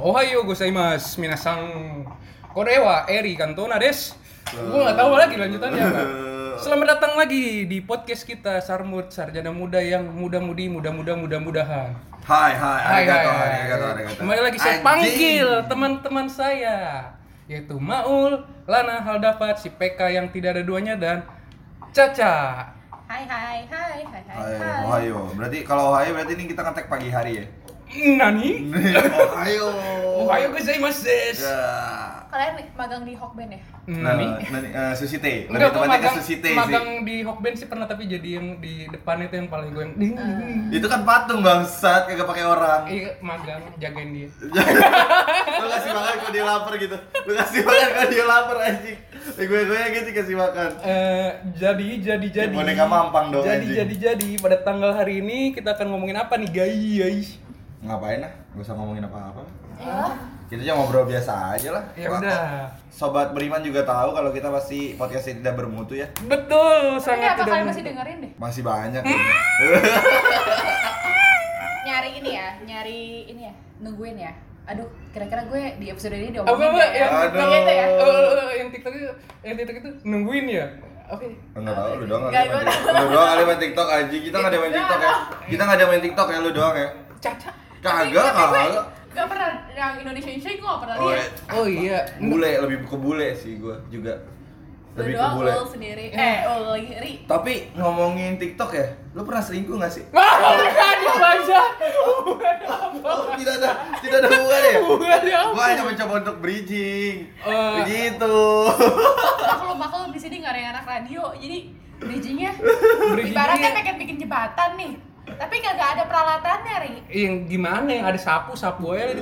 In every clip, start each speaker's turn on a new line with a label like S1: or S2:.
S1: おはようございます皆さんこれはエリカントナです Gue gak tahu lagi lanjutannya apa. Selamat datang lagi di podcast kita Sarmut Sarjana Muda yang muda-mudi muda-muda mudah-mudahan.
S2: Hai hai,
S1: Hai, hai,
S2: arigato,
S1: hai.
S2: arigato, arigato.
S1: Kembali lagi saya
S2: Anjing.
S1: panggil teman-teman saya yaitu Maul, Lana Haldapat, si PK yang tidak ada duanya dan Caca.
S3: Hai hai hai hai hai.
S2: Hai,
S3: hai.
S2: Ohio. Berarti kalau Ohio berarti ini kita ngetek pagi hari ya.
S1: Nani? Oh,
S2: Ohio.
S1: Ohayou gozaimasu desu.
S2: Ya.
S3: Kalian magang di Hokben ya?
S1: Hmm. Nani?
S2: Nani, eh, sushi teh.
S1: Enggak,
S2: Lebih
S1: gue
S2: tepatnya ke
S1: magang,
S2: sushi teh sih.
S1: magang di Hokben sih pernah tapi jadi yang di depan itu yang paling gue yang ding, ding, ding.
S2: Itu kan patung bangsat, kagak pakai orang.
S1: Iya, magang jagain dia.
S2: Lu kasih makan kok dia lapar gitu. Lu kasih makan kok dia lapar anjing. Gue gue gitu kasih makan.
S1: Eh, jadi jadi jadi
S2: boneka mampang dong,
S1: jadi
S2: anjing.
S1: jadi jadi pada tanggal hari ini kita akan ngomongin apa nih guys
S2: Ngapain lah? Gak usah ngomongin apa-apa.
S1: Iya.
S3: Ya.
S2: Kita cuma ngobrol biasa aja lah.
S1: ya udah
S2: Sobat beriman juga tahu kalau kita pasti podcastnya tidak bermutu ya.
S1: betul
S3: Tapi
S1: sangat
S3: apa kalian
S1: tidak
S3: masih dengerin deh?
S2: Masih banyak.
S3: Nyari ini ya, nyari ini ya, nungguin ya. Aduh, kira-kira gue di episode ini diomongin.
S1: apa Iya. apa
S3: nggak
S1: yang TikTok
S2: Aduh.
S3: Yang itu ya?
S1: Eh, eh, eh, yang tiktok itu yang tiktok itu nungguin ya oke
S2: Enggak tahu lu doang kali
S3: Nggak,
S2: main
S3: gua
S2: TikTok. Lu doang kali main TikTok anjing. Kita enggak ada main TikTok ya. Kita enggak ada main TikTok ya lu doang ya.
S1: caca
S2: Kagak kagak.
S3: Gak pernah yang Indonesia Indonesia gue gak pernah
S2: Oh,
S3: lihat.
S1: oh iya
S2: bule lebih ke bule sih gua juga.
S3: Lu
S2: Lebih ke
S3: doang
S2: bule.
S3: ul sendiri. Eh, ul lagi ri.
S2: Tapi ngomongin TikTok ya, lu pernah selingkuh gak sih?
S1: Wah, bukan dibaca.
S2: Oh, tidak ada, tidak ada hubungan ya? Oh.
S1: Bukan ya.
S2: Gua hanya mencoba untuk bridging.
S1: Eh.
S2: Begitu.
S3: Maklum maklum di sini gak ada yang anak radio, jadi bridgingnya
S1: Bridgingnya-
S3: ibaratnya pengen bikin jembatan nih. Tapi kagak ada peralatannya, Ri.
S1: Iya, Yang gimana yang ada sapu sapu aja di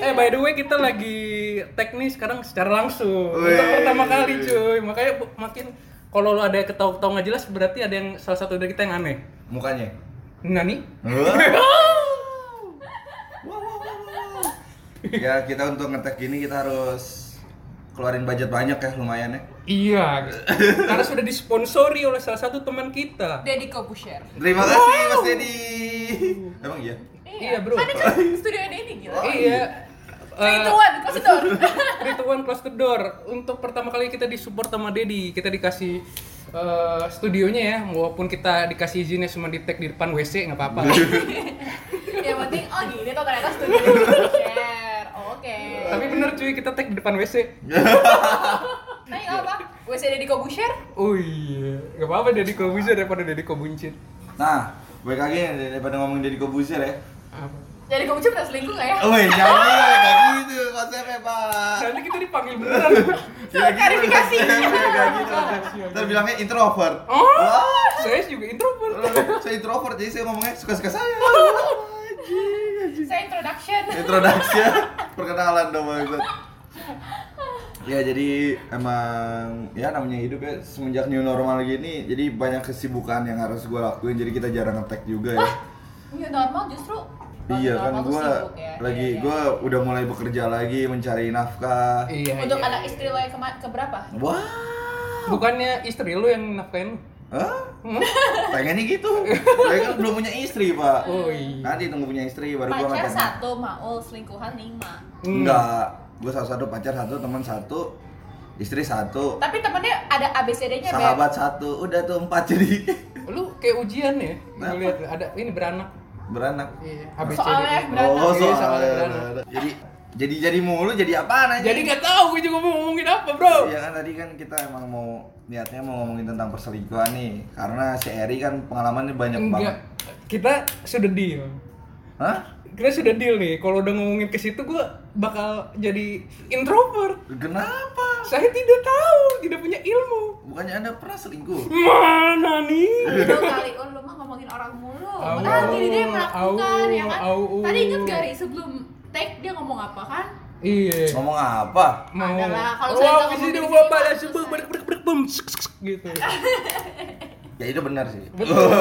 S1: Eh by the way kita lagi teknis sekarang secara langsung. Untuk
S2: Weh.
S1: pertama kali cuy. Makanya bu- makin kalau lo ada yang ketawa-ketawa nggak jelas berarti ada yang salah satu dari kita yang aneh.
S2: Mukanya.
S1: Nani?
S2: Wah. Wah, wah, wah, wah. ya kita untuk ngetek ini kita harus keluarin budget banyak ya lumayan ya.
S1: Iya. Karena sudah disponsori oleh salah satu teman kita.
S3: Deddy Kobusher.
S2: Terima kasih Mas Dedi. Emang iya.
S1: Iya, bro.
S3: Kan kan studio ini gila.
S1: Iya.
S3: Three
S1: Eh,
S3: to one, close the door.
S1: Three to one close the door. Untuk pertama kali kita disupport sama Dedi, kita dikasih eh, studionya ya, walaupun kita dikasih izinnya cuma di tag di depan WC nggak apa-apa.
S3: Yang penting oh gini tuh ternyata studio share. Oke.
S1: Tapi bener cuy, kita tag di depan WC.
S3: Tapi nggak apa? WC Deddy Kobusher?
S1: Oh iya, nggak apa-apa Dedi Kobuncit daripada Dedi Kobuncit.
S2: Nah, BKG daripada ngomongin Deddy Kobuzer ya.
S1: Apa?
S3: Jadi Kobusher pernah selingkuh nggak ya?
S1: Oh.
S2: Woi, jangan kayak gitu konsepnya, Pak.
S1: Nanti kita dipanggil beneran.
S2: Kayak gitu
S3: Klarifikasi.
S2: konsepnya, kayak gitu konsepnya. Ntar bilangnya introvert.
S1: Oh,
S2: Wah,
S1: saya juga introvert.
S2: saya introvert jadi saya ngomongnya suka-suka saya.
S3: Saya introduction.
S2: Introduction, perkenalan dong banget. Ya jadi emang ya namanya hidup ya semenjak new normal gini jadi banyak kesibukan yang harus gue lakuin jadi kita jarang ngetek juga ya.
S3: New normal justru.
S2: Iya kan
S3: Normal tuh
S2: gue
S3: sibuk ya.
S2: lagi
S3: Iya, iya.
S2: gue udah mulai bekerja lagi mencari nafkah.
S1: Iya.
S3: Untuk
S1: iya.
S3: anak istri lo yang kema- keberapa?
S2: Wah,
S1: Bukannya istri lu yang nafkain lu?
S2: Hah?
S1: Hmm?
S2: pengennya gitu. Saya kan belum punya istri pak.
S1: Oh iya.
S2: Nanti tunggu punya istri baru gue ngatain.
S3: Pacar satu, maul selingkuhan lima.
S2: Enggak, gue satu satu pacar satu teman satu
S1: Oh.
S2: istri satu
S3: Tapi temennya ada ABCD-nya
S2: sahabat satu udah tuh empat jadi
S1: Lu kayak ujian ya?
S2: Kenapa?
S1: Gue lihat ada ini beranak.
S2: beranak.
S1: Iya,
S3: Beb.
S1: ABCD.
S3: Soalnya beranak.
S2: Oh
S1: Iya,
S2: soalnya
S1: soalnya
S2: beranak. Jadi jadi jadi mulu jadi apaan aja?
S1: Jadi nggak tahu gue juga mau ngomongin apa, Bro.
S2: Iya kan tadi kan kita emang mau niatnya mau ngomongin tentang perselingkuhan nih karena si Eri kan pengalamannya banyak
S1: Enggak.
S2: banget.
S1: Kita sudah deal.
S2: Hah?
S1: Kita sudah deal nih. Kalau udah ngomongin ke situ gue bakal jadi introvert.
S2: Kenapa?
S1: Saya tidak tahu, tidak punya ilmu.
S2: Bukannya anda pernah selingkuh?
S1: Mana nih?
S3: Itu kali oh, lu mah ngomongin orang mulu.
S1: Au,
S3: Padahal diri dia yang melakukan
S1: au,
S3: ya kan.
S1: au, au.
S3: Tadi inget gak Ri sebelum take dia ngomong apa kan?
S1: Iya.
S2: Ngomong apa?
S1: Mau.
S3: Adalah, kalau saya
S1: Wow,
S3: nggak
S1: di sini
S3: ngomong
S1: gua
S3: gini,
S1: balas
S3: selesai.
S1: sebelum berk berk berk bum sek, sek, sek, gitu.
S2: Ya itu benar sih.
S1: Betul.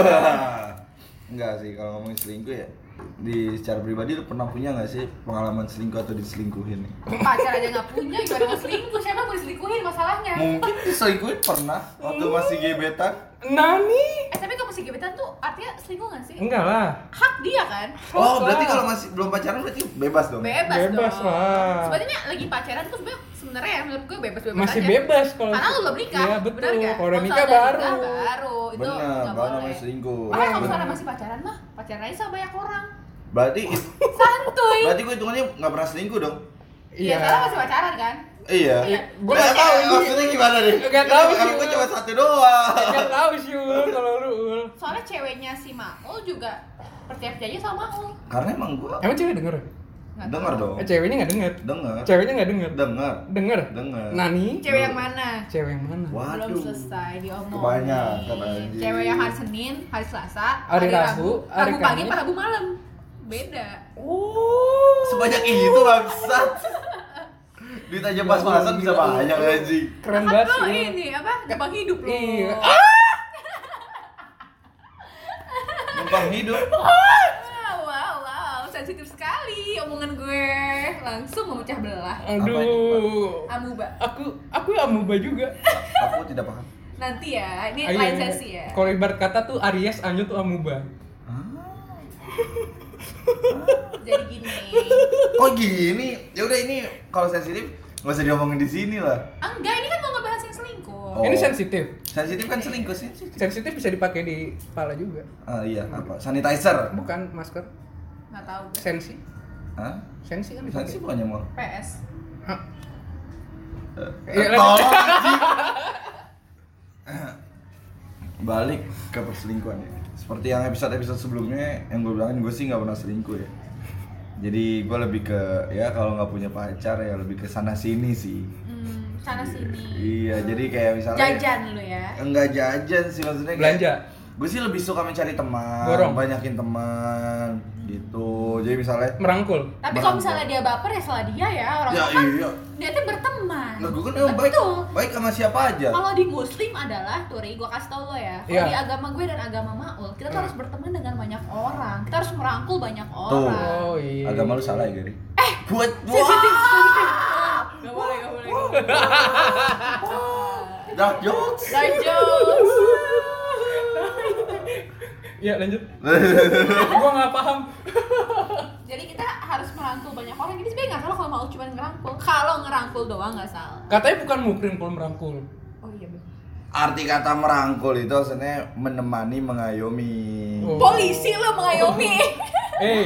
S2: Enggak sih kalau ngomongin selingkuh ya. di secara pribadi lu pernah punya nggak sih pengalaman selingkuh atau diselingkuhin nih?
S3: pacar aja nggak punya gimana mau selingkuh siapa mau diselingkuhin masalahnya
S2: Mungkin diselingkuhin pernah waktu
S3: Iya.
S2: masih gebetan.
S1: Nani?
S3: eh tapi kalau masih gebetan tuh artinya selingkuh nggak sih
S1: Nah, Enggak lah.
S3: hak dia kan
S2: Oh, berarti kalau masih belum pacaran berarti bebas dong.
S3: bebas,
S1: Bebas
S3: dong
S1: lah.
S3: sebenarnya lagi pacaran tuh sebenarnya sebenarnya ya, menurut gue bebas bebas
S1: Masih bebas kalau
S3: karena lu belum nikah
S1: Iya, betul.
S3: benar nggak?
S1: Kalau udah nikah
S3: misalnya
S1: baru.
S3: baru itu
S2: Bener,
S3: nggak
S2: baru
S3: boleh Ah,
S2: namanya selingkuh.
S3: Makanya kalau
S2: Bener.
S3: misalnya masih pacaran mah pacaran aja sama banyak orang
S2: Berarti
S3: santuy
S2: berarti gue hitungannya nggak pernah selingkuh dong.
S3: iya soalnya masih pacaran kan
S2: Iya.
S3: Iya.
S1: Eh,
S2: Gue nggak tahu maksudnya gimana deh.
S1: Nggak tahu sih.
S2: Kalau gue cuma satu doang.
S1: Enggak tahu sih Ul, kalau lu. Ul.
S3: soalnya ceweknya si Maul juga percaya percaya sama Maul
S2: Karena emang gue
S1: Emang Eh, cewek denger?
S3: Nggak tahu.
S2: dengar dong.
S1: Eh, ceweknya nggak denger.
S2: Dengar.
S1: Ceweknya nggak denger.
S2: Dengar.
S1: Denger.
S2: Dengar.
S1: Nani?
S3: cewek yang mana
S1: Cewek yang mana?
S2: Waduh.
S3: belum selesai diomongin
S2: Kebanyakan, anjing.
S3: cewek yang hari Senin hari Selasa
S1: Hari Rabu, hari
S3: Rabu pagi
S1: Kamis.
S3: apa Rabu malam beda
S1: Oh.
S2: Sebanyak itu bangsat. Duit aja pas-pasan bisa banyak anjing.
S1: Keren
S3: Kan
S1: banget
S3: lo
S1: sih. Ul.
S3: ini apa Jepang hidup Ah! lo
S1: Iya.
S2: Numpang hidup.
S3: wow wow wow sensitif sekali omongan gue langsung memecah belah
S1: Aduh.
S3: amuba
S1: Aku aku amuba juga.
S2: Aku tidak paham.
S3: nanti ya ini
S1: Ayo,
S3: lain
S1: ayo.
S3: sesi ya
S1: Kalau ibarat kata tuh Aries Anjut tuh amuba.
S2: Ah.
S3: jadi gini
S2: Kok gini? Ya udah ini kalau sensitif nggak usah diomongin di sini lah.
S3: Ah, enggak ini kan mau ngebahas yang
S2: Oh.
S3: selingkuh
S1: Ini sensitif.
S2: Sensitif kan selingkuh sensitif.
S1: Sensitif bisa dipakai di kepala juga.
S2: Ah iya apa? Sanitizer.
S1: Bukan masker.
S3: nggak tahu gue
S1: Sensi.
S2: Hah?
S1: Sensi kan dipakai.
S2: Sensi bukannya mau?
S3: PS
S1: Hah?
S2: Eh,
S1: Iya,
S2: tolong, anjing. Balik ke perselingkuhan ya. Seperti yang episode-episode sebelumnya yang gue bilangin gue sih nggak pernah selingkuh ya. Jadi gue lebih ke ya kalau nggak punya pacar ya lebih ke sana sini sih.
S3: hmm, sana sini
S2: Iya, jadi kayak misalnya
S3: jajan lu ya
S2: Enggak jajan sih maksudnya kayak-
S1: Belanja.
S2: Gue sih lebih suka mencari teman,
S1: Borong.
S2: banyakin teman gitu. Jadi misalnya
S1: Merangkul.
S3: tapi kalau misalnya dia baper ya salah dia ya orang
S2: Ya,
S3: tua kan
S2: iya.
S3: dia tuh berteman
S2: Nah, gue kan emang baik, Ya.
S3: Betul.
S2: baik sama siapa aja.
S3: Kalau di muslim adalah, Turi, gue kasih tau lo ya Kalau
S1: Iya.
S3: di agama gue dan agama Maul, kita tuh harus berteman dengan banyak orang Kita harus merangkul banyak orang
S2: Ya. Tuh.
S1: Oh iya.
S2: Agama lu salah ya, Gary. Eh, buat
S3: Sensitif, sensitif Gak boleh, gak boleh, gak boleh
S2: dark jokes.
S3: Dark jokes.
S1: Iya lanjut. Gua nggak paham.
S3: Jadi kita harus merangkul banyak orang Jadi sebenernya gak salah kalau Maul cuma ngerangkul Kalau ngerangkul doang gak salah
S1: Katanya bukan mukrim kalau merangkul.
S3: Oh iya bener
S2: Arti kata merangkul itu maksudnya menemani, mengayomi.
S1: Oh.
S3: Polisi lo mengayomi
S1: Eh,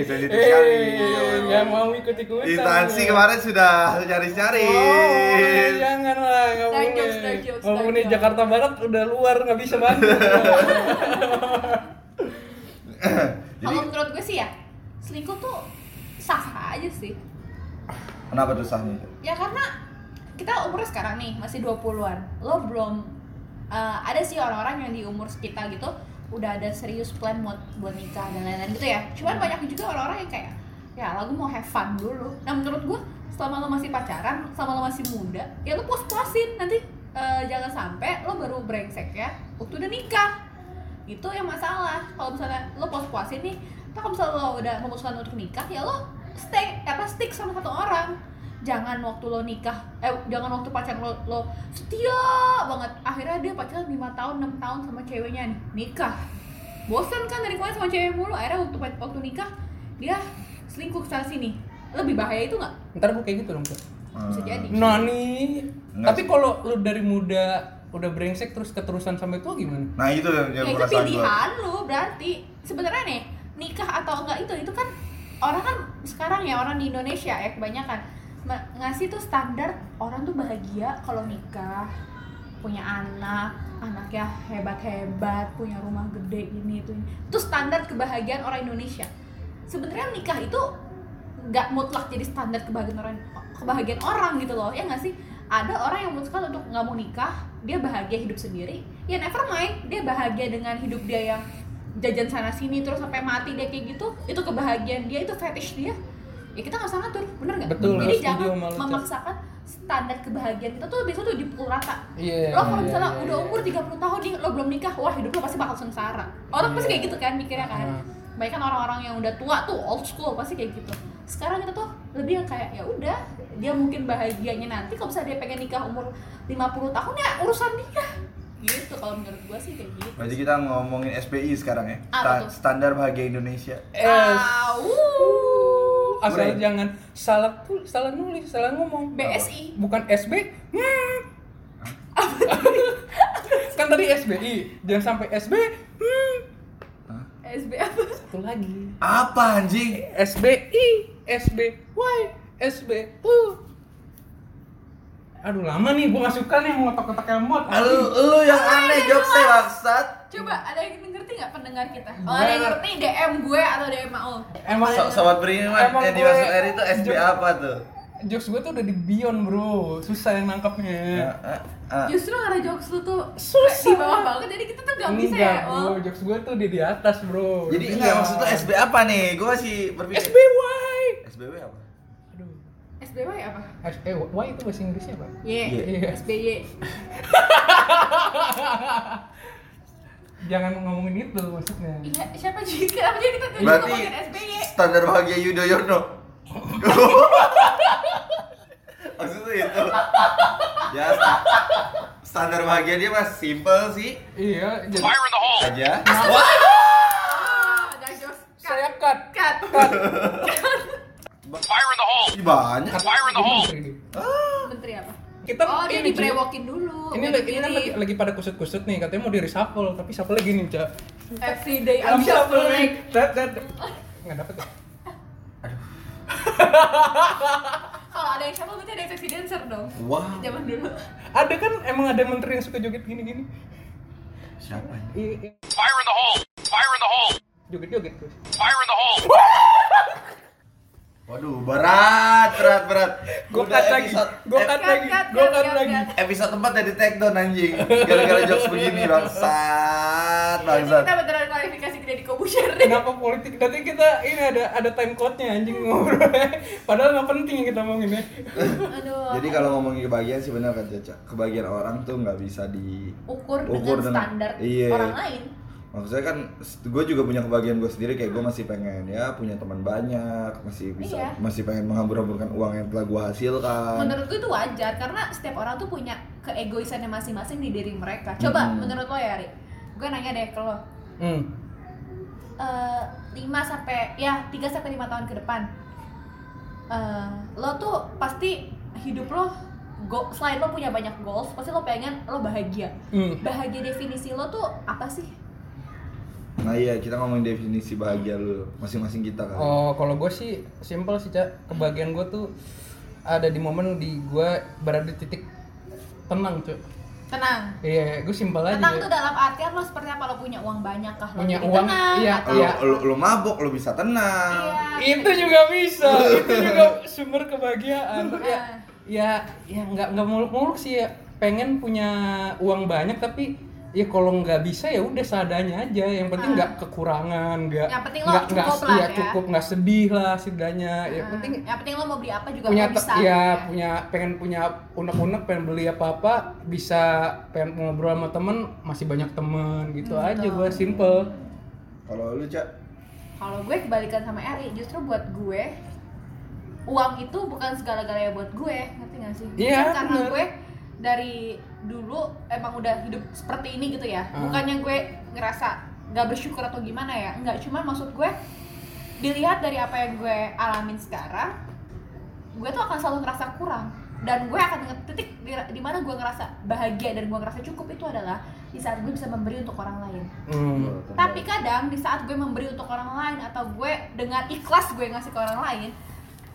S1: eh,
S2: sensitif sekali.
S1: eh, nggak mau ikut ikutan.
S2: Instansi kemarin sudah nyari-nyari.
S1: Oh,
S3: iya.
S1: jangan lah, nggak
S3: Dark
S1: boleh.
S3: jokes, dark jokes,
S1: Ngomong
S3: dark
S1: di
S3: jokes.
S1: Jakarta Barat udah luar nggak bisa banget.
S2: Jadi
S3: Kalau menurut gue sih ya, selingkuh tuh sah-sah aja sih
S2: kenapa tuh sahnya?
S3: Ya karena kita umurnya sekarang nih masih 20-an. Lo belum eh, ada sih orang-orang yang di umur kita gitu udah ada serius plan buat buat nikah dan lain-lain gitu ya. Cuman banyak juga orang-orang yang kayak ya lagu mau have fun dulu. Nah menurut gua selama lo masih pacaran, selama lo masih muda, ya lo puas-puasin nanti eh, jangan sampai lo baru brengsek ya waktu udah nikah itu yang masalah kalau misalnya lo puas-puasin nih tapi kalau misalnya lo udah memutuskan untuk nikah ya lo stay apa stick sama satu orang jangan waktu lo nikah eh jangan waktu pacar lo lo setia banget akhirnya dia pacaran 5 tahun 6 tahun sama ceweknya nih nikah bosan kan dari kemarin sama cewek mulu akhirnya waktu waktu nikah dia selingkuh kesana sini lebih bahaya itu nggak
S1: Ntar gua kayak gitu dong. Kak.
S3: bisa
S2: Hmm.
S3: jadi
S1: Nani.
S2: Nggak
S1: Tapi
S2: sih.
S1: kalau lu dari muda udah brengsek terus keterusan sampai tua gimana?
S2: Nah itu yang yang
S3: ya itu
S2: perasaan gue.
S3: pilihan lu berarti sebenarnya nih nikah atau enggak itu itu kan orang kan sekarang ya orang di Indonesia ya kebanyakan me- ngasih tuh standar orang tuh bahagia kalau nikah punya anak anaknya hebat-hebat punya rumah gede ini itu ini. itu standar kebahagiaan orang Indonesia sebenarnya nikah itu nggak mutlak jadi standar kebahagiaan orang kebahagiaan orang gitu loh ya nggak sih ada orang yang memutuskan untuk nggak mau nikah dia bahagia hidup sendiri ya never mind dia bahagia dengan hidup dia yang jajan sana sini terus sampai mati dia kayak gitu itu kebahagiaan dia itu fetish dia ya kita nggak usah ngatur bener nggak
S1: Betul,
S3: jadi
S1: setuju
S3: jangan
S1: sama lu, Cak.
S3: memaksakan standar kebahagiaan kita tuh biasanya tuh dipukul rata
S1: Iya.
S3: lo kalau
S1: iya,
S3: misalnya
S1: iya,
S3: udah
S1: iya.
S3: umur 30 tahun nih lo belum nikah wah hidup lo pasti bakal sengsara orang pasti
S1: Iya.
S3: kayak gitu kan mikirnya kan
S1: Nah,
S3: Baik kan orang-orang yang udah tua tuh old school pasti kayak gitu. Sekarang kita tuh lebih yang kayak ya udah dia mungkin bahagianya nanti kalau misalnya dia pengen nikah umur 50 tahun ya urusan dia. Gitu kalau menurut gua sih kayak gitu.
S2: Berarti kita ngomongin SPI sekarang ya.
S3: Apa
S2: Sta-
S3: tuh?
S2: Standar bahagia Indonesia.
S1: Eh,
S3: Ah,
S1: wuh. asal
S2: Boleh.
S1: jangan salah tul- salah nulis, salah ngomong.
S3: BSI.
S1: Bukan SB. Hmm. kan tadi SBI, jangan sampai SB. Hmm.
S3: SB apa?
S1: Satu lagi.
S2: Apa anjing?
S1: SBI, SBY, SBU. Aduh lama nih, gua gak suka nih ngotak-kotak emot.
S2: Lu, lu yang aneh jokes saya bangsat.
S3: Coba ada yang ngerti nggak pendengar kita? Kalau ada yang ngerti DM gue atau DM Maul.
S1: Emang
S2: So- Sobat beriman
S1: Emang
S2: yang dimaksud
S1: gue-
S2: Eri itu SP
S1: Jok-
S2: apa tuh?
S1: jokes gue tuh udah di beyond bro, susah yang
S3: Hmm.
S1: nangkapnya.
S2: Ah, ah, ah.
S3: Justru karena jokes lu tuh
S1: Susah.
S3: di bawah banget, jadi kita tuh gak
S1: Ini
S3: bisa ya.
S1: gak
S3: Ol.
S1: bro, jokes gue tuh di di atas bro.
S2: Jadi
S1: Iya.
S2: enggak maksud tuh SB apa nih? Gue masih berpikir.
S1: SBY.
S2: SBW apa?
S1: Aduh.
S3: SBY apa?
S1: H- Eh, Y itu bahasa Inggrisnya apa?
S3: Y.
S1: Iya.
S3: SBY.
S1: Jangan ngomongin itu maksudnya.
S3: Iya, siapa juga? Kenapa jadi kita tuh
S2: Berarti
S3: ngomongin SBY?
S2: standar bahagia Yudhoyono. Maksudnya itu. Ya, sta- standar bahagia dia mas simple sih
S1: Iya, jadi
S2: aja.
S3: Ah, ada jokes.
S1: saya cut.
S3: Cut.
S2: Ih, banyak.
S1: Cut. Ini.
S3: Menteri apa?
S1: Kita
S3: oh, dia Oh,
S1: ini, Ci.
S3: diberewokin dulu.
S1: Ini
S3: Udah
S1: lagi, ini kan lagi,
S3: dipilih.
S1: lagi pada kusut-kusut nih, katanya mau di reshuffle, tapi shuffle lagi nih, Cak.
S3: Every day I'm shuffling.
S1: Tet, tet. Nggak dapet ya?
S3: Kalau ada yang shuffle berarti ada sexy dancer dong.
S2: Wow,
S3: Zaman dulu.
S1: Ada kan emang ada menteri yang suka joget gini-gini?
S2: siapa ini?
S1: Iya, iya.
S4: Fire in the hole! Fire in the hole!
S1: Joget-joget terus.
S4: Fire in the hole!
S2: Waduh, berat, berat, berat.
S1: Gue
S2: Udah
S1: cut lagi,
S2: episode-
S1: gue
S2: ep-
S1: cut
S3: Cut,
S1: lagi,
S3: cut,
S1: gue
S3: cut,
S1: cut
S3: cut,
S1: lagi.
S3: cut.
S2: Episode tempat dari take down anjing. Gara-gara jokes begini bangsat,
S3: Nanti
S2: bangsat.
S3: kita beneran klarifikasi ke Deddy Kobusier deh.
S1: Kenapa politik? Nanti kita ini ada ada time code-nya anjing ngobrolnya. Padahal nggak penting yang kita ngomongin ya.
S3: Aduh.
S2: Jadi kan kalau ngomongin kebahagiaan sih benar kan Caca. Kebahagiaan orang tuh nggak bisa di
S3: ukur,
S2: Ukur
S3: dengan
S2: dengan-
S3: standar
S2: iya.
S3: orang lain.
S2: Maksudnya kan gue juga punya kebahagiaan gue sendiri kayak gue masih pengen ya punya teman banyak, masih bisa
S3: Iya.
S2: masih pengen menghambur-hamburkan uang yang telah gue hasilkan.
S1: Kan.
S3: Menurut gue itu wajar karena setiap orang tuh punya keegoisannya masing-masing di diri mereka. Coba
S2: Hmm.
S3: menurut lo ya, Ri. Gue nanya deh ke lo.
S1: Hmm.
S3: Eh, 5 sampai ya 3 sampai 5 tahun ke depan. Eh, lo tuh pasti hidup lo go, selain lo punya banyak goals, pasti lo pengen lo bahagia.
S1: Hmm.
S3: Bahagia definisi lo tuh apa sih?
S2: Nah iya kita ngomongin definisi bahagia lu masing-masing kita kan.
S1: Oh, kalau gue sih simple sih, Cak. Kebahagiaan gue tuh ada di momen di gue berada di titik tenang, cuy.
S3: Tenang.
S1: Iya, gue simpel aja.
S3: Tenang tuh dalam artian lo seperti apa lo punya uang banyak kah? Lo
S1: Punya
S3: jadi
S1: uang,
S3: tenang,
S1: iya,
S3: atau-
S2: Lu,
S1: iya.
S2: lu, lu mabok, lu bisa tenang.
S3: Iya.
S1: itu juga bisa itu juga sumber kebahagiaan ya
S3: Ah.
S1: ya ya nggak nggak muluk-muluk sih ya pengen punya uang banyak tapi ya kalau nggak bisa ya udah seadanya aja yang penting
S3: Ah.
S1: nggak kekurangan nggak
S3: Yang penting lo
S1: nggak nggak
S3: cukup lah
S1: iya,
S3: ya.
S1: cukup nggak sedih lah setidaknya Iya, yang penting
S3: yang penting lo mau beli apa juga
S1: punya
S3: lo
S1: te-
S3: bisa
S1: ya
S3: gitu
S1: punya pengen punya unek-unek pengen beli apa-apa bisa pengen ngobrol sama temen masih banyak temen gitu
S3: Hmm,
S1: aja
S3: betul.
S1: gue simple
S2: Kalau lu Cak,
S3: kalau gue kebalikan sama Eri justru buat gue uang itu bukan segala-galanya buat gue ngerti gak sih
S1: Iya,
S3: Mungkin karena
S1: bener.
S3: gue dari dulu emang udah hidup seperti ini gitu ya
S1: Ah.
S3: bukannya gue ngerasa gak bersyukur atau gimana ya enggak cuman maksud gue dilihat dari apa yang gue alamin sekarang gue tuh akan selalu ngerasa kurang dan gue akan nge- titik di, di mana gue ngerasa bahagia dan gue ngerasa cukup itu adalah di saat gue bisa memberi untuk orang lain
S1: Hmm.
S3: tapi kadang di saat gue memberi untuk orang lain atau gue dengan ikhlas gue ngasih ke orang lain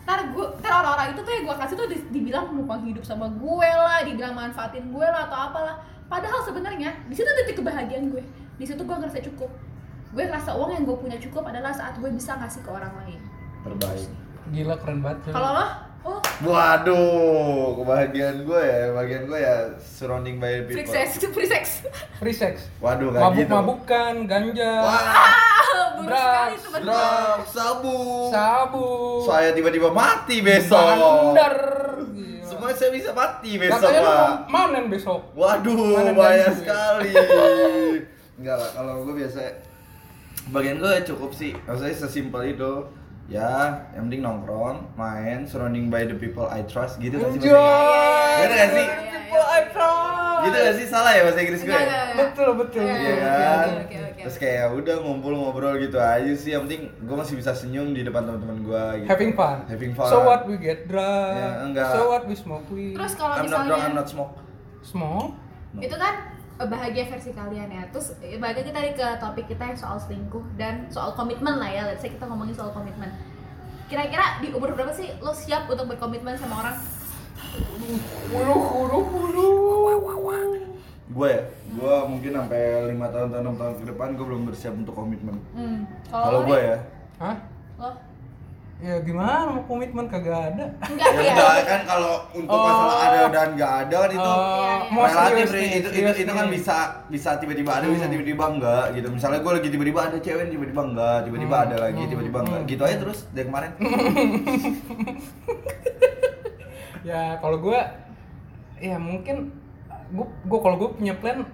S3: ntar gue ntar orang-orang itu tuh yang gue kasih tuh di- dibilang numpang hidup sama gue lah dibilang manfaatin gue lah atau apalah padahal sebenarnya di situ titik kebahagiaan gue di situ gue ngerasa cukup gue ngerasa uang yang gue punya cukup adalah saat gue bisa ngasih ke orang lain
S2: terbaik.
S1: gila keren banget
S3: kalau lo oh
S2: Waduh, kebahagiaan gue ya, kebahagiaan gue ya surrounding by people.
S3: free sex free sex
S1: free sex
S2: Waduh, gak gitu.
S1: mabuk-mabukan, ganja,
S2: Wah,
S3: ah buruk sekali
S1: Drugs,
S3: itu betul
S2: drop, sabu.
S1: sabu,
S2: Saya tiba-tiba mati besok.
S1: bandar. Iya.
S2: Semua saya bisa mati besok,
S1: Katanya lu
S2: Pak.
S1: mau manen besok.
S2: Waduh,
S1: Mana dan
S2: bahaya
S1: gue?
S2: sekali. Enggak lah, kalau gue biasa bagian gue cukup sih maksudnya sesimpel itu ya yang penting nongkrong main surrounding by the people I trust gitu kan sih maksudnya?
S1: Enjoy.
S2: Bener
S3: Iya,
S2: gak sih? iya.
S1: People I trust.
S2: gitu gak sih salah ya bahasa Inggris gue
S3: Enggak, enggak, enggak.
S1: Betul, betul.
S3: Iya,
S2: Iya
S3: oke,
S2: kan?
S3: oke, oke, oke.
S2: Terus kayak ya udah ngumpul ngobrol gitu aja sih. Yang penting gue masih bisa senyum di depan teman-teman gue. Gitu.
S1: Having fun.
S2: Having fun.
S1: So what we get
S2: Ya,
S1: drunk.
S2: enggak.
S1: so what we smoke we
S3: Terus kalau
S2: I'm not
S3: misalnya
S2: drunk, I'm not smoke.
S1: smoke.
S2: No.
S3: itu kan eh, bahagia versi kalian ya. Terus eh, balik kita nih ke topik kita yang soal selingkuh dan soal komitmen lah ya. Let's say kita ngomongin soal komitmen. Kira-kira di umur berapa sih lo siap untuk berkomitmen sama orang?
S1: Huru huru huru.
S2: Gue ya, gue mungkin sampai lima tahun, tahun, enam tahun ke depan gue belum bersiap untuk komitmen.
S3: Hmm.
S2: Kalau
S3: lo
S2: gue
S3: nih,
S2: ya,
S1: Hah?
S3: Lo?
S1: Ya gimana mau komitmen kagak ada.
S3: Enggak
S2: ya
S3: ya.
S2: udah kan kalau untuk
S1: Oh.
S2: masalah ada dan nggak ada kan itu
S3: Iya,
S1: Eh, mau
S2: relatif
S1: serius
S2: Ri.
S1: nih,
S2: itu itu
S1: serius
S2: itu kan
S1: nih.
S2: bisa bisa tiba-tiba ada bisa
S1: Hmm.
S2: tiba-tiba enggak gitu misalnya gue lagi tiba-tiba ada cewek tiba-tiba enggak tiba-tiba
S1: Hmm.
S2: ada lagi
S1: Hmm.
S2: tiba-tiba enggak
S1: Hmm.
S2: gitu aja terus dari kemarin
S1: ya kalau gue ya mungkin gue gue kalau gue punya plan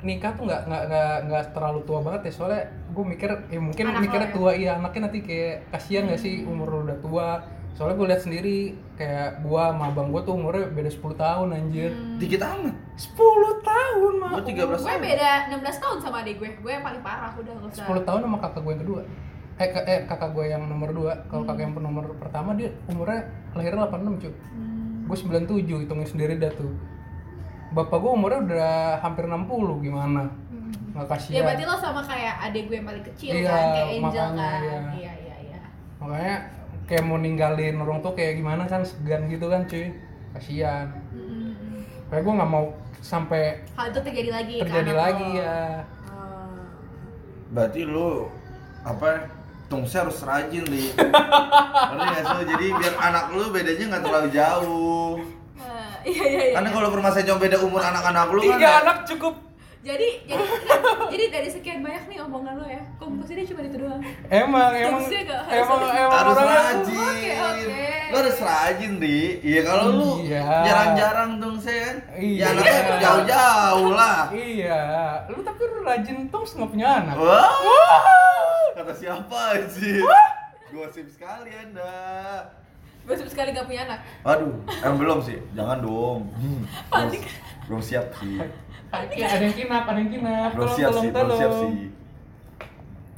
S1: nikah tuh nggak nggak nggak nggak terlalu tua banget ya soalnya gue mikir ya mungkin
S3: Anak lo
S1: mikirnya
S3: ya?
S1: tua iya anaknya nanti kayak kasihan nggak sih umur lu udah tua soalnya gue lihat sendiri kayak gue sama abang gue tuh umurnya beda 10 tahun anjir
S3: Hmm.
S2: dikit amat
S1: 10 tahun mah
S2: gue 13
S3: Gue
S2: tahun
S3: beda 16 tahun sama adik gue. Gue yang paling parah udah gak usah.
S1: 10 tahun sama kakak gue yang kedua eh, ka- eh, kakak gue yang nomor 2 kalau kakak yang nomor pertama dia umurnya lahirnya 86 cuy
S3: Hmm.
S1: gue 97 hitungnya sendiri dah tuh bapak gue umurnya udah hampir 60 gimana
S3: Hmm.
S1: nggak
S3: Ya
S1: kasihan
S3: berarti lo sama kayak adik gue yang paling kecil
S1: Iya,
S3: kan, kayak Angel
S1: makanya,
S3: kan.
S1: iya.
S3: Iya, iya, iya.
S1: makanya kayak mau ninggalin orang tuh kayak gimana kan segan gitu kan cuy kasihan
S3: Hmm.
S1: kayak gue nggak mau sampai
S3: Hal itu terjadi lagi ke
S1: terjadi
S3: anak
S1: lagi
S3: lo.
S2: iya.
S1: ya
S3: Oh.
S2: berarti lu apa tungsnya harus rajin li ngerti gak sih lu? jadi biar anak lu bedanya nggak terlalu jauh
S3: Eh, iya, iya, iya.
S2: karena kalau permasalahan cuma beda umur anak-anak lu kan
S1: tiga
S2: ya-
S1: Iya, anak cukup
S3: Jadi, jadi, jadi dari sekian banyak nih omongan lo ya, komposisinya cuma itu doang.
S1: emang emang
S3: Terusnya nggak harus
S1: emang
S3: ada.
S1: emang
S2: harus
S1: orangnya-
S2: rajin
S3: Oke, oke.
S2: lu harus rajin di iya kalau lu
S1: Iya.
S2: jarang-jarang dong sen
S1: Iya.
S2: ya anaknya jauh-jauh lah
S1: iya lu tapi lu rajin tuh nggak punya anak
S2: Wah,
S1: Wow.
S2: kata siapa anjir gosip sekali anda
S3: Gue sama sekali gak punya anak.
S2: aduh em belum sih jangan dong Hmm, belum, belum siap sih
S1: Oke, ada yang kinap, ada yang kinap.
S2: belum
S1: Tolong,
S2: siap
S1: tolong,
S2: sih belum siap
S1: tolong.
S2: sih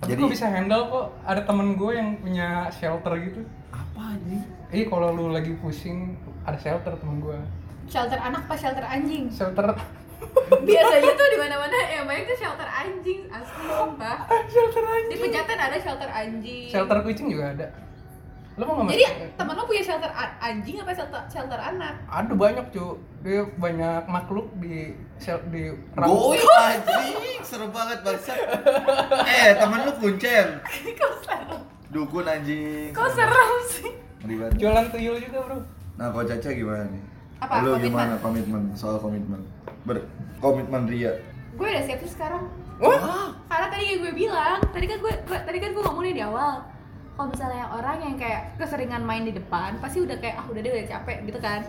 S1: Tapi
S2: jadi
S1: gue bisa handle kok. Ada temen gue yang punya shelter gitu.
S2: apa anjing
S1: Ih, kalau lu lagi pusing, ada shelter temen gue.
S3: Shelter anak pas shelter anjing?
S1: Shelter,
S3: Biasanya tuh di mana-mana yang banyak tuh shelter anjing, asli sumpah.
S1: shelter
S3: Di
S1: anjing.
S3: pejaten ada shelter anjing.
S1: Shelter kucing juga ada. Lu mau nggak
S3: Jadi
S1: masuk?
S3: temen lo punya shelter a- anjing apa shelter, shelter anak?
S1: Ada banyak cu, dia banyak makhluk di shel di
S2: Goy anjing, seru banget bangsa. Eh, temen lu kuncen.
S3: Kok serem?
S2: Dukun anjing.
S3: Kok serem sih?
S2: Ngeri banget.
S1: Jualan tuyul juga bro.
S2: Nah, kalau Caca gimana nih?
S3: Apa,
S2: Lu
S3: komitmen?
S2: gimana komitmen? Soal komitmen. Berkomitmen Ria.
S3: Gue udah siap sih sekarang.
S1: Wah,
S3: Karena tadi kayak gue bilang, tadi kan gue, gue- tadi kan gue ngomongnya di awal. Kalau misalnya orang yang kayak keseringan main di depan, pasti udah kayak ah udah deh udah capek gitu kan.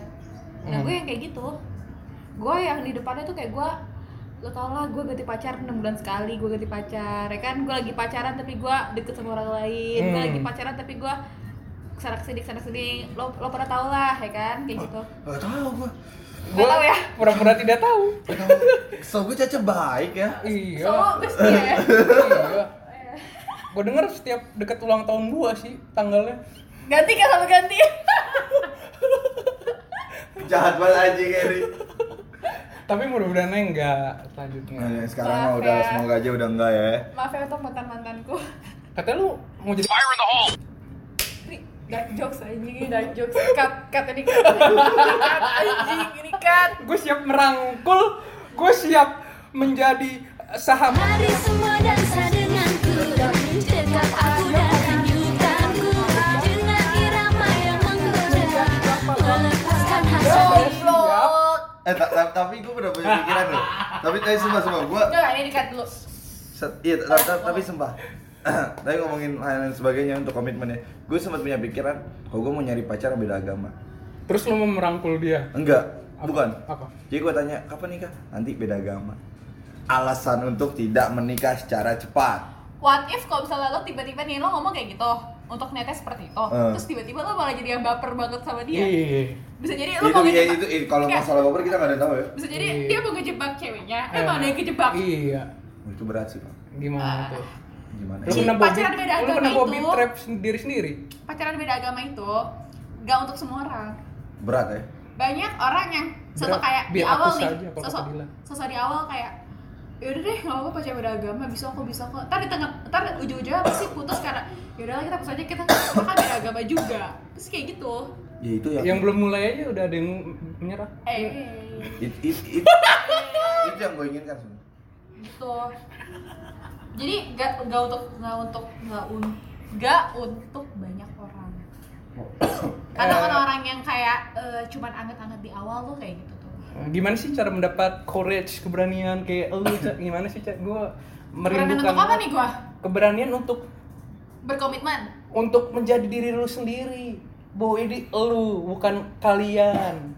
S3: Nah
S1: Hmm.
S3: gue yang kayak gitu, gue yang di depannya tuh kayak gue lo tau lah gue ganti pacar 6 bulan sekali gue ganti pacar ya kan gue lagi pacaran tapi gue deket sama orang lain gue
S1: Hmm.
S3: lagi pacaran tapi gue kesana kesini kesana kesini lo lo pernah tau lah ya kan kayak gitu
S2: Gak tau gua.
S1: Gua
S3: tahu ya.
S1: Pura-pura tidak tahu.
S2: Gak tau. So, gue Caca baik ya.
S1: Iya.
S3: so gue setia ya
S1: Iya. Gue denger setiap deket ulang tahun gua sih tanggalnya.
S3: ganti kan selalu ganti
S2: Jahat banget anjing Eri.
S1: Tapi mudah-mudahan enggak selanjutnya.
S2: Nah, sekarang mah
S3: Maaf
S2: udah,
S3: ya.
S2: semoga aja udah enggak ya.
S3: Maaf ya untuk mantan-mantanku.
S1: Katanya lu mau jadi
S4: Fire in the hole!
S3: Ini dark jokes anjing, ini dark jokes. Cut, cut ini cut. Cut anjing, ini cut.
S1: gue siap merangkul, gue siap menjadi saham
S5: Mari semua dansa denganku Dekat aku dan tunjukkanku Dengan irama yang menggoda Melepaskan hasrat
S3: Goblok.
S2: Eh, ta- ta- tapi gue udah punya pikiran loh. Tapi tadi sumpah sumpah gue
S3: Enggak, ini di cut dulu.
S2: Set- iya, ta- ta- tapi sembah. tapi ngomongin hal lain sebagainya untuk komitmennya, gue sempat punya pikiran, kalau gue mau nyari pacar yang beda agama.
S1: Terus lu mau merangkul dia?
S2: Enggak,
S1: Apa?
S2: bukan.
S1: Apa?
S2: Jadi gue tanya, kapan nikah? Nanti beda agama. Alasan untuk tidak menikah secara cepat.
S3: what if kalau misalnya lo tiba-tiba nih lo ngomong kayak gitu untuk niatnya seperti itu
S2: Eh.
S3: terus tiba-tiba lo malah jadi yang baper banget sama
S1: Hmm. Iya.
S3: dia bisa jadi lo
S2: itu
S3: mau
S2: ya
S3: ngejebak
S2: itu itu- kalau
S3: Enggak.
S2: masalah baper kita nggak ada yang tahu ya
S3: bisa jadi
S1: Iya.
S3: dia mau ngejebak ceweknya eh
S1: Eh.
S3: malah dia yang kejebak
S1: Iya.
S2: Oh, itu berat sih pak
S1: Gimana
S3: Ah.
S1: tuh?
S2: gimana
S1: Lu
S3: Jadi
S2: ya?
S1: kena bobby,
S3: pacaran beda
S1: lu kena
S3: agama
S1: bobby
S3: itu-
S1: trap sendiri sendiri.
S3: pacaran beda agama itu gak untuk semua orang
S2: berat ya
S3: banyak orang yang
S1: Berat.
S3: sosok kayak di
S1: Biar aku
S3: awal nih
S1: saja kalau
S3: sosok
S1: kata Dila.
S3: sosok di awal kayak yaudah deh nggak apa-apa pacaran beda agama bisa kok bisa kok ntar di tengah ntar ujung-ujungnya pasti putus karena yaudah lah kita putus aja kita bahkan beda agama juga terus kayak gitu
S2: ya itu yang
S1: Yang belum mulai aja udah ada yang menyerah.
S3: eh
S2: It- it- it- itu yang gue inginkan sebenarnya.
S3: gitu jadi gak gak untuk gak untuk gak un gak untuk banyak orang karena
S1: Eh.
S3: orang-orang yang kayak eh, cuman anget-anget di awal tuh kayak gitu tuh
S1: Gimana sih cara mendapat courage, keberanian kayak "Oh, lu, Cak? Gimana sih, Cak? Gua
S3: Berani
S1: merindukan
S3: untuk apa nih gua
S1: keberanian untuk
S3: berkomitmen
S1: untuk menjadi diri lu sendiri. Bahwa ini lu, bukan kalian.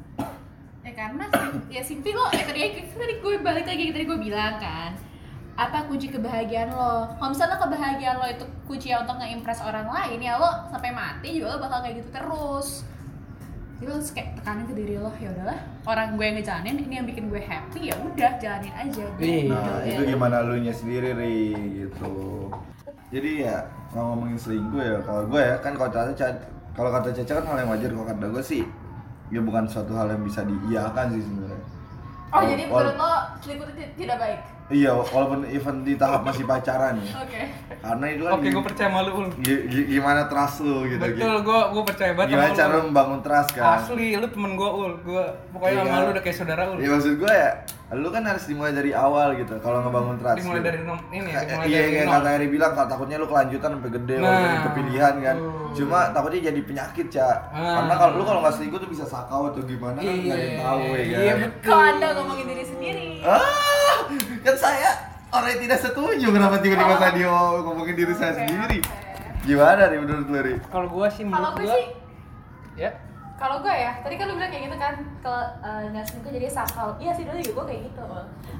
S3: ya karena sing- ya simply lo ya tadi tadi gue balik lagi tadi gue bilang kan apa kunci kebahagiaan lo kalau misalnya kebahagiaan lo itu kunci untuk nge-impress orang lain ya lo sampai mati juga lo bakal kayak gitu terus jadi lo harus kayak tekanin ke diri lo ya udahlah orang gue yang ngejalanin ini yang bikin gue happy ya udah jalanin aja Gitu ya.
S1: Iya.
S2: Nah, itu gimana lu nya sendiri, Ri, gitu. Jadi ya, kalau ngomongin selingkuh ya, kalau gue ya, kan kalau kata Caca, kalau kata Caca kan hal yang wajar, kalau kata gue sih, ya bukan suatu hal yang bisa diiyakan sih sebenarnya.
S3: oh jadi
S2: Wala-
S3: menurut lo selingkuh itu tidak baik
S2: Iya, walaupun even di tahap masih pacaran ya.
S3: oke
S2: Karena itu kan
S1: Oke,
S2: gi-
S1: gua percaya sama lu. Ul.
S2: gi- gi- gimana trust lu gitu.
S1: Betul,
S2: gitu.
S1: gua gua percaya banget
S2: Gimana
S1: sama
S2: cara
S1: lu.
S2: membangun trust kan?
S1: Asli, lu temen gua, Ul. Gua pokoknya
S2: Iya.
S1: sama lu udah kayak saudara, Ul.
S2: Ya maksud gue ya, lu kan harus dimulai dari awal gitu, kalau ngebangun trust.
S1: Dimulai
S2: gitu.
S1: dari nom ini,
S2: Kayak-
S1: dimulai
S2: iya
S1: dari
S2: kayak
S1: nol.
S2: kata Eri bilang kalau takutnya lu kelanjutan sampai gede
S1: Nah.
S2: walaupun itu pilihan kan
S1: Hmm.
S2: cuma takutnya jadi penyakit ya
S1: Ah.
S2: karena kalau lu kalau nggak selingkuh tuh bisa sakau atau gimana kan nggak ada yang tahu ya kan
S1: Iya, betul.
S3: kalau anda ngomongin diri sendiri
S2: ah kan saya orang yang tidak setuju kenapa tiba-tiba
S1: Ah.
S3: Oh.
S2: saya dia ngomongin diri saya
S3: Oke,
S2: sendiri
S3: oke.
S2: gimana nih menurut lu Ri?
S1: Kalau gua sih
S3: kalau
S1: menurut
S3: gue
S1: gua
S3: sih
S1: ya
S3: Kalau gue ya, tadi kan lu bilang kayak gitu kan, kalau eh, nggak selingkuh jadi sakal. Iya sih dulu juga gue kayak gitu.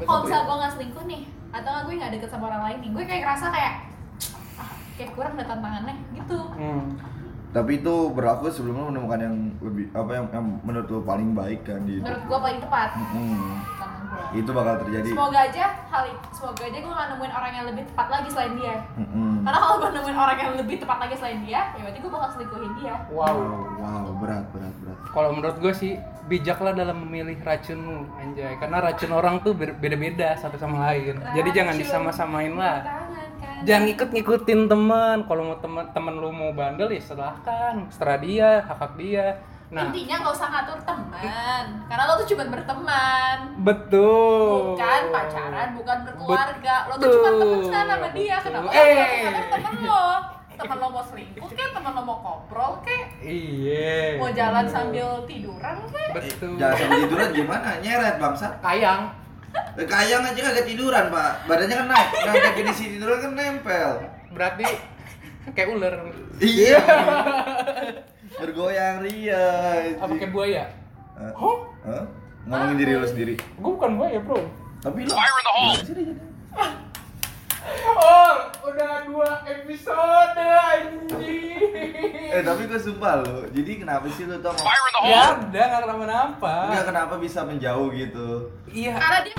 S3: Kalau misalnya gue nggak selingkuh nih, atau nggak gue nggak deket sama orang lain nih, gue kayak ngerasa kayak ah, kayak kurang ada tantangannya gitu.
S1: Hmm.
S2: tapi itu berlaku sebelum lu menemukan yang lebih apa yang, yang menurut lu paling baik kan di
S3: Menurut gue paling tepat.
S2: Mm-mm.
S3: Tantangan gue.
S2: itu bakal terjadi
S3: Semoga aja hal semoga aja gue nggak nemuin orang yang lebih tepat lagi selain dia.
S2: Mm-mm.
S3: Karena kalau gue nemuin orang yang lebih tepat lagi selain dia, ya berarti gue bakal selingkuhin dia.
S2: wow
S1: Wow.
S2: wow berat berat berat
S1: Kalau menurut gue sih bijaklah dalam memilih racunmu, anjay. Karena racun orang tuh ber- beda-beda satu sama lain. Jadi jangan
S3: Racun.
S1: disama-samain lah.
S3: Tantangan kan.
S1: Jangan ikut ngikutin teman. Kalau mau teman teman lu mau bandel ya silahkan. Setelah dia, hak hak dia. Nah,
S3: Intinya gak usah ngatur teman, karena lo tuh cuma berteman.
S1: betul.
S3: bukan pacaran, bukan berkeluarga. Lo tuh
S1: Betul.
S3: cuma temenan sama dia. Kenapa
S1: Eh.
S3: lo ngatur temen lo? Temen lo mau selingkuh kek, temen lo mau koprol kek,
S1: Iya.
S3: mau jalan sambil tiduran kek.
S1: Betul.
S2: Jangan sampai tiduran gimana? Nyeret bangsa.
S1: Kayang.
S2: Eh, Kayang aja kagak tiduran pak. Badannya kan naik. Nah kaki di sini tiduran kan nempel.
S1: Berarti kayak ular.
S2: Iya. Bergoyang ria.
S1: Apa kayak buaya?
S2: Eh,
S1: Huh?
S2: eh? Ngomongin diri lu sendiri.
S1: Gue bukan buaya, Bro.
S2: Tapi lu.
S4: Fire in the hole.
S1: Oh, udah dua episode anjing.
S2: Eh tapi gue sumpah lo. Jadi kenapa sih lu tau?
S4: Fire in the hole.
S1: Ya udah nggak kenapa-napa.
S2: Enggak kenapa bisa menjauh gitu?
S1: Iya.
S3: Karena dia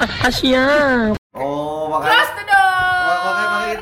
S2: Oh,